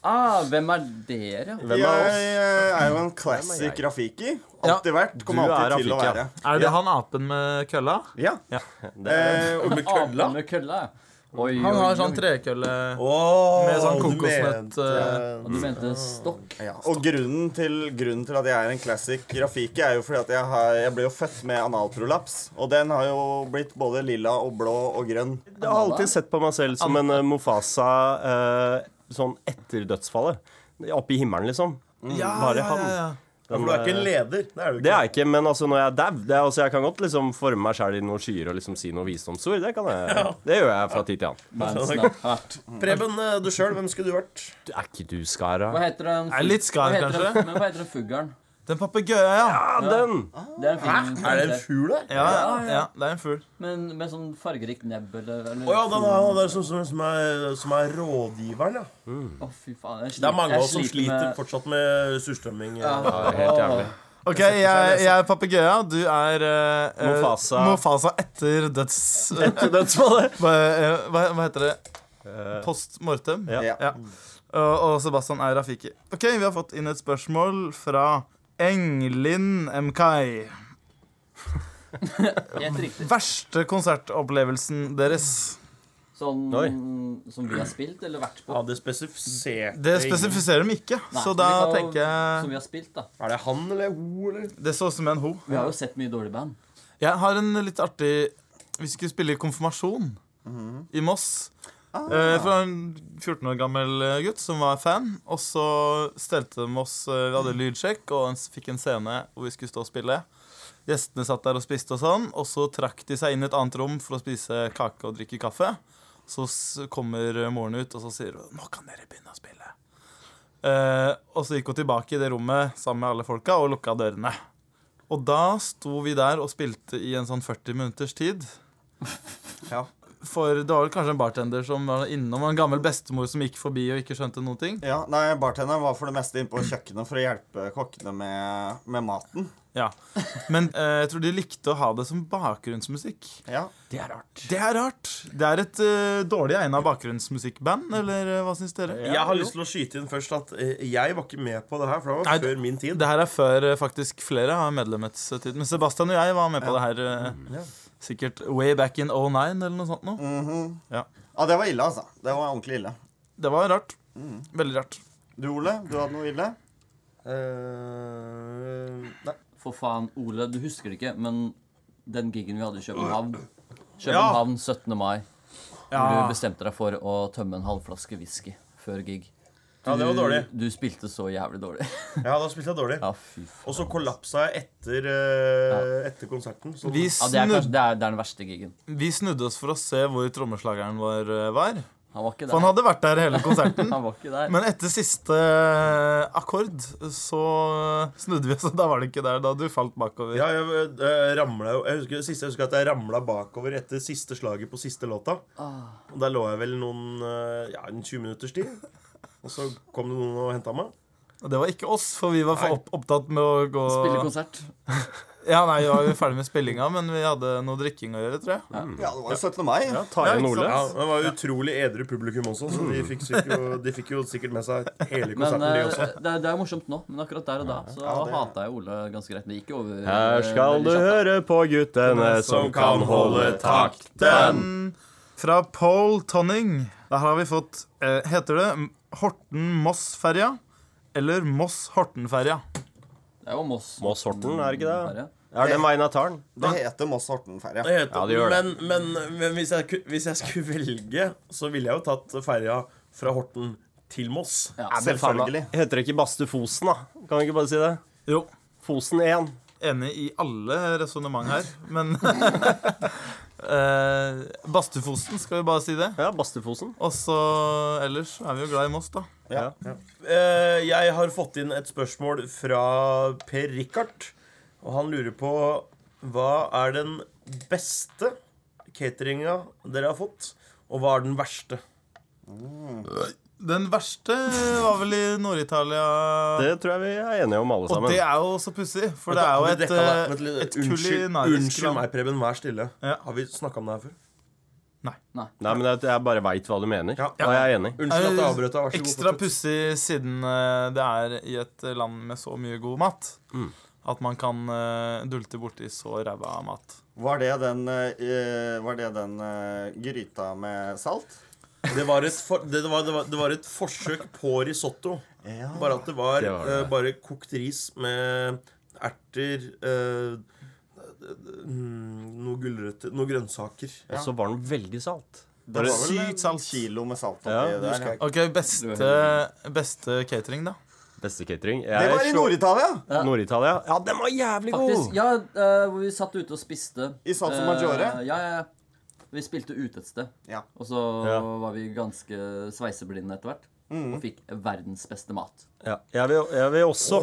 Ah, hvem er dere?
Hvem
Jeg
er oss?
eh, er jo en classic Rafiki. Alltid vært. Kommer
Du er
alltid til å
Rafiki, ja.
være.
Er det han apen med kølla?
Ja.
Det er
Eh, og med
Ape Ah, med kølla. Oi, oi,
Han
oi.
har sånn trekølle
Åh,
med sånn
du
kokosnøtt.
mente-
eh,
Og Du mente stokk?
Ja, og grunnen til, grunnen til at jeg er en classic Rafiki, er jo fordi at jeg, har, jeg ble jo født med analprolaps. Og den har jo blitt både lilla og blå og grønn.
Jeg har alltid sett på meg selv som en eh, Mofasa eh, sånn etter dødsfallet. Oppe i himmelen, liksom. Mm, Bare han.
For du er ikke en leder. Det er du ikke.
Det er jeg ikke, men altså når jeg er dau det er- altså, Jeg kan godt liksom forme meg sjæl i noen skyer og liksom si noen visdomsord. Det kan jeg Det gjør jeg fra tid til annen.
Mansen har vært.
Preben, eh, du sjøl, hvem skulle du vært?
Du er ikke du
Hva
skara?
heter den?
Er litt skarp,
hva heter den-
kanskje?
Men hva heter den fuglen?
Den papegøya, ja.
Ja, den!
Det er en fin
Er det en fugl der?
Ja, ja, ja. Det er en fugl.
Men med sånn fargerikt nebb eller, eller
Å ja, den er, den er som, som, som, er, som er rådgiveren, ja.
Å, fy faen. Jeg sliter,
Det er mange
jeg
av oss som sliter
med-
fortsatt med surstrømming. eh.
Ja, helt jævlig.
Ok, jeg, jeg er papegøya. Du er eh, eh,
Mofasa.
Mofasa etter døds...
Etter dødsfallet.
hva, eh, hva, hva heter det? Post mortem.
Eh, Ja.
Ja.
Ja. Og, og Sebastian er Rafiki. Ok, Vi har fått inn et spørsmål fra Englin MKI.
Helt riktig.
Verste konsertopplevelsen deres?
Sånn
Oi.
som vi har spilt eller vært på.
Ja, det spesifiserte
Det spesifiserer de ikke,
Nei,
så
som
da
vi har-
tenker
Som
jeg
vi har spilt, da.
ingen- Er det han eller hun, eller?
Det så ut som en ho.
Vi har jo sett mye dårlig band.
Jeg har en litt artig Vi skulle spille i konfirmasjon i Moss. Eh, fra en 14 år gammel eh, gutt som var fan. Og så stelte de oss eh, Vi hadde lydsjekk og en, s- fikk en scene hvor vi skulle stå og spille. Gjestene satt der og spiste og sånn, og så trakk de seg inn i et annet rom for å spise kake og drikke kaffe. Så s- kommer eh, moren ut, og så sier hun 'Nå kan dere begynne å spille'. Eh, og så gikk hun tilbake i det rommet sammen med alle folka og lukka dørene. Og da sto vi der og spilte i en sånn 40 minutters tid.
Ja.
For det var vel kanskje en bartender som var innom, og en gammel bestemor som gikk forbi og ikke skjønte noen ting.
Ja, nei, Bartenderen var for det meste inne på kjøkkenet for å hjelpe kokkene med, med maten.
Ja. Men eh, jeg tror de likte å ha det som bakgrunnsmusikk.
Ja.
Det er rart.
Det er rart. Det er et eh, dårlig egna bakgrunnsmusikkband, eller eh, hva syns dere?
Jeg har lyst til å skyte inn først at eh, jeg var ikke med på det her, for det var
Nei,
før min tid.
Det her er før eh, faktisk flere har medlemmetstid. Men Sebastian og jeg var med på det her eh, sikkert way back in 09 eller noe sånt. Nå.
ja, det var ille, altså. Det var ordentlig ille.
Det var rart. Veldig rart.
Du, Ole, du hadde noe ille?
Eh, nei.
For faen, Ole, du husker det ikke, men den gigen vi hadde i København København 17. mai, hvor du bestemte deg for å tømme en halvflaske whisky før gig.
Ja, det var dårlig.
Du spilte så jævlig dårlig.
Ja, da spilte jeg dårlig.
Ja, fy faen.
Og så kollapsa jeg etter, eh, etter konserten. Så
Vi
Ja, det, er
snudde
kanskje, det, er, det er den verste gigen.
Vi snudde oss for å se hvor trommeslageren vår eh, var.
Han var ikke
For han
der.
hadde vært der hele konserten.
Han var ikke der.
Men etter siste eh, akkord så snudde vi oss, og da var det ikke der. Da du falt bakover.
Ja, jeg, eh, ramla jo jeg husker, Siste jeg husker at jeg ramla bakover etter siste slaget på siste låta.
Ah.
Og der lå jeg vel noen eh, Ja, en 20 minutters tid. Og så kom det noen og henta meg.
Og det var ikke oss, for vi var for opp, opptatt med å gå
Spille konsert.
Ja, nei, vi var jo ferdig med spillinga, men vi hadde noe drikking å gjøre, tror jeg.
Ja, det var jo 17. mai.
Ja, tar
Ja,
igjen
ikke
Ole.
Ja, Det var utrolig edru publikum også, så de fikk, sikkert jo, de fikk jo sikkert med seg hele
Men
konserten, de
eh,
også.
det, er- det er jo morsomt nå, men akkurat der og da så hatet hata jeg Ole ganske greit. Men det gikk jo over. eh,
Her skal
veldig kjapt,
du
da.
høre på guttene som kan holde takten.
Fra Paul Tonning. Der har vi fått eh, Heter det Horten-Moss-ferja eller Moss-Horten-ferja?
Det er jo Moss.
Moss Horten, er det ikke det?
Bare.
Er det veien av taren?
Det heter Moss Horten-ferja.
Det heter,
Ja, det gjør det.
Men, men, men hvis, jeg, ku- hvis jeg skulle velge, så ville jeg jo tatt ferja fra Horten til Moss.
Ja.
Selvfølgelig.
Heter det ikke Bastu Fosen, da? Kan vi ikke bare si det?
Jo.
Fosen 1.
enig i alle resonnement her, men eh, Bastufosen, skal vi bare si det.
Ja, Bastufosen.
Og så ellers er vi jo glad i Moss, da.
Ja.
Eh, jeg har fått inn et spørsmål fra Per Rikard. Og han lurer på hva er den beste cateringa dere har fått, og hva er den verste?
Den verste var vel i Nord-Italia.
Det tror jeg vi er enige om, alle
Og
sammen.
det er jo så pussig, for det er jo et,
Dette var- vent
eh,
litt,
et
unnskyld,
kulinarisk
unnskyld
land.
meg, Preben. Vær stille.
Ja.
Har vi snakka om det her før?
Nei, men jeg, jeg bare veit hva du mener.
Ja.
Og jeg er enig.
Unnskyld at jeg avbrøt deg. Vær så god.
Ekstra
fortsett.
pussig siden eh, det er i et land med så mye god mat.
Mm.
At man kan eh, dulte borti så ræva mat.
Var det den, eh, var det den eh, gryta med salt?
Det var, et for, det, var, det, var, det var et forsøk på risotto.
Ja.
Bare at det var,
Det var det.
eh, bare kokt ris med erter eh, mm, Noe gulrøtter Noe grønnsaker.
Og så var den veldig salt.
Det var vel
Sykt
en
salt.
kilo med salt
Ja,
oppi
det
der.
husker
ja.
jeg
OK, beste, beste catering, da?
Beste catering.
Det
Jeg
var i
slår-
Nord-Italia!
Nord-Italia. Ja, den var jævlig
Faktisk,
god!
ja, eh, hvor vi satt ute og spiste.
I Salsa
Eh,
Maggiore?
ja, ja, ja. Vi spilte ute et sted.
Ja.
Og så
Ja.
var vi ganske sveiseblinde etter hvert.
Mm.
Og fikk verdens beste mat.
Ja. Jeg, vil, jeg vil også,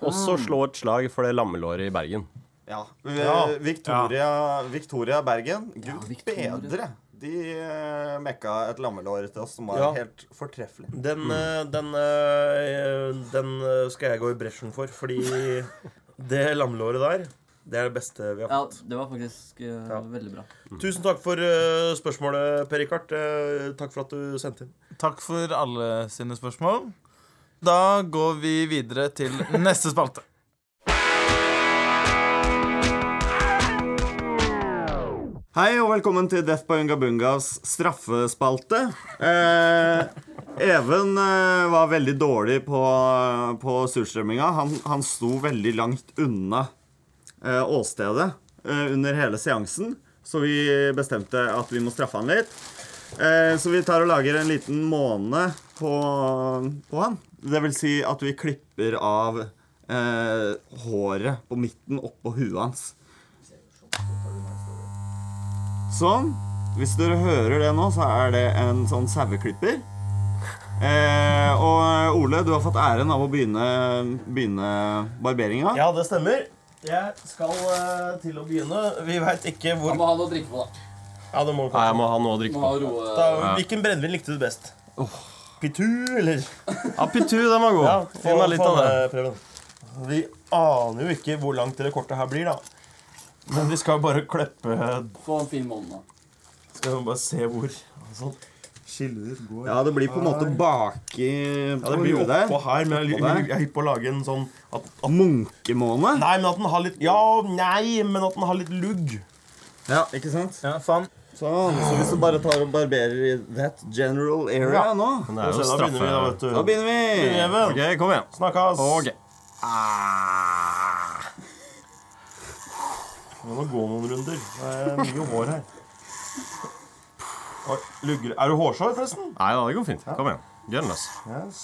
også slå et slag for det lammelåret i Bergen.
Ja. Vi- Victoria, Victoria Bergen. Gud
Victoria.
bedre! De eh, mekka et lammelår til oss som var
Ja.
helt fortreffelig.
Den,
Mm.
eh, den, eh, den eh, skal jeg gå i bresjen for, fordi det lammelåret der, det er det beste vi har
Ja,
fått.
det var faktisk eh, veldig bra.
Tusen takk for eh, spørsmålet, Perikart. Uh, takk for at du sendte inn.
Takk for alle sine spørsmål. Da går vi videre til neste spalte.
Hei og velkommen til Death by Ungabungas straffespalte. Eh, Even eh, var veldig dårlig på, på surstrømminga. Han, han sto veldig langt unna eh, åstedet eh, under hele seansen, så vi bestemte at vi må straffe han litt. Eh, så vi tar og lager en liten måne på, på han. Det vil si at vi klipper av eh, håret på midten oppå huet hans. Sånn. Hvis dere hører det nå, så er det en sånn saueklipper. Eh, og Ole, du har fått æren av å begynne, begynne barberinga.
Ja, det stemmer. Jeg skal eh, til å begynne. Vi veit ikke hvor
må ha noe å drikke på, da.
Ja, det må
Nei, jeg må ha noe å drikke på.
da, Hvilken brennevin likte du best? Pitu, eller?
Apitu, den var god. Gi meg litt av det.
eh, Preben. Vi aner jo ikke hvor langt det kortet her blir, da. Men vi skal bare klippe
Få en fin måned nå.
Skal vi bare se hvor sånn. Skille ut går.
Ja, det blir på en måte baki
Ja, det blir jo oppå her, men jeg er- jeg er hypp på å lage en sånn at, at,
Munkemåne.
Nei, men at den har litt Ja, nei, men at den har litt lugg.
Ja, ikke sant?
Ja, faen.
Sånn. Så hvis du bare tar og barberer i that general area
Ja.
nå,
Men det er
Så
jo
da begynner vi, da,
straffe...
vet du.
da begynner vi.
Even,
Ok, kom igjen.
snakkes.
Ok.
Ah.
Vi må gå noen runder. Det er mye hår her. Oi, lugger. Er du hårsår, forresten?
Nei da, det går fint. Kom igjen. Gun løs.
Yes.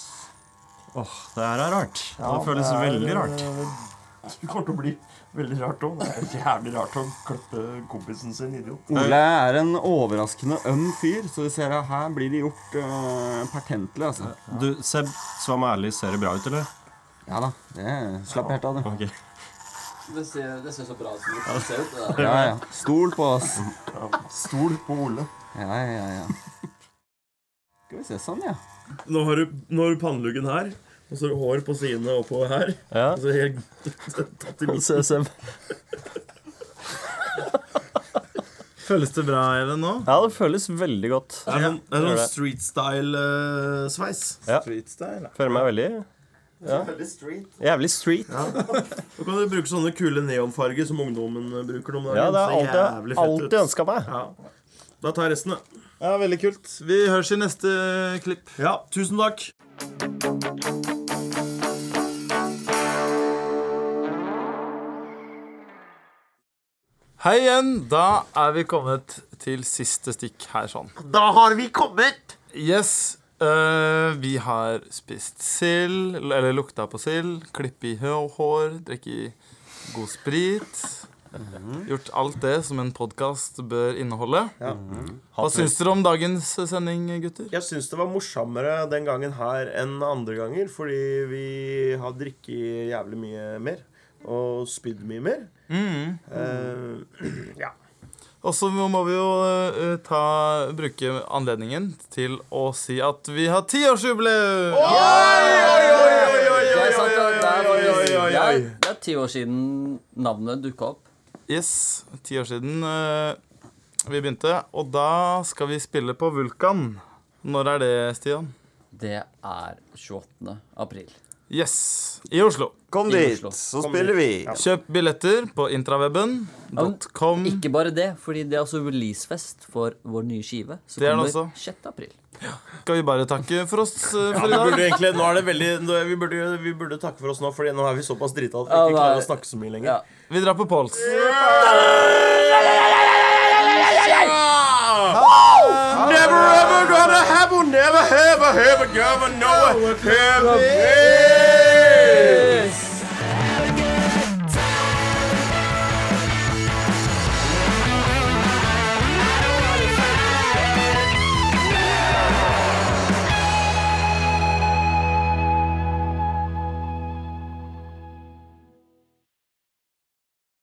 Åh, det her er rart. det føles
er,
veldig rart.
eh, Det kommer til å bli veldig rart òg. Det er jævlig rart å klippe kompisen sin, idiot.
Ole er en overraskende øm fyr, så du ser at her blir det gjort uh, pertentlig, altså.
Du, Seb, svar meg ærlig, ser det bra ut, eller?
Ja da. Det slapp helt av, det.
Ok.
Det ser, det ser så bra ut som det ser ut. Det der.
Ja, ja. Stol på oss.
Stol på Ole.
Ja, ja, ja. Skal vi se sånn, ja.
Nå har du, nå har du panneluggen her, og så har du hår på sidene oppover her.
Ja.
Og så helt tatt i midten.
Se, Seb.
Føles det bra, Even, nå?
Ja, det føles veldig godt.
Det er sånn, det er
gjør
sånn
det.
street eh, style-sveis.
Ja.
Street style,
Føler meg veldig
Veldig street.
Jævlig street.
Nå kan du bruke sånne kule neonfarger som ungdommen eh, bruker. om dagen.
Ja,
Ser
det har jeg alltid,
jævlig fett ut.
alltid ønska meg.
Da tar jeg resten, da.
Ja, Veldig kult. Vi høres i neste klipp.
Ja, tusen takk.
Hei igjen. Da er vi kommet til siste stikk her sånn.
Da har vi kommet!
Yes. eh, vi har spist sild, eller lukta på sild, klippe i hå- hår, drikke i god sprit. Gjort alt det som en podkast bør inneholde. Hva syns dere om dagens sending, gutter?
Jeg syns det var morsommere den gangen her enn andre ganger, fordi vi har drikket jævlig mye mer. Og spydd mye mer.
Mm.
Eh, ja.
Og så må vi jo eh, ta, bruke anledningen til å si at vi har tiårsjubileum!
Jeg satt der, det er faktisk-
oi, oi, oi.
det er- Det er ti år siden navnet dukka opp.
Yes, ti år siden eh, vi begynte. Og da skal vi spille på Vulkan. Når er det, Stian?
Det er 28. april.
Yes, i Oslo.
Kom
I
dit,
Oslo.
så spiller vi.
Kjøp billetter på intraweben.com.
Ikke bare det, fordi det er også releasefest for vår nye skive. Som
Det er det
kommer
også.
6. april.
Skal vi bare takke for oss eh, for i
Vi
dag?
burde egentlig, nå er det veldig, nå er- vi, burde, vi burde takke for oss nå, Fordi nå er vi såpass drita at vi
Ja,
ikke klarer å
nei.
snakke så mye lenger.
Ja.
Vi drar på Pols.
Never ever gonna have, never ever, ever gonna know, have it.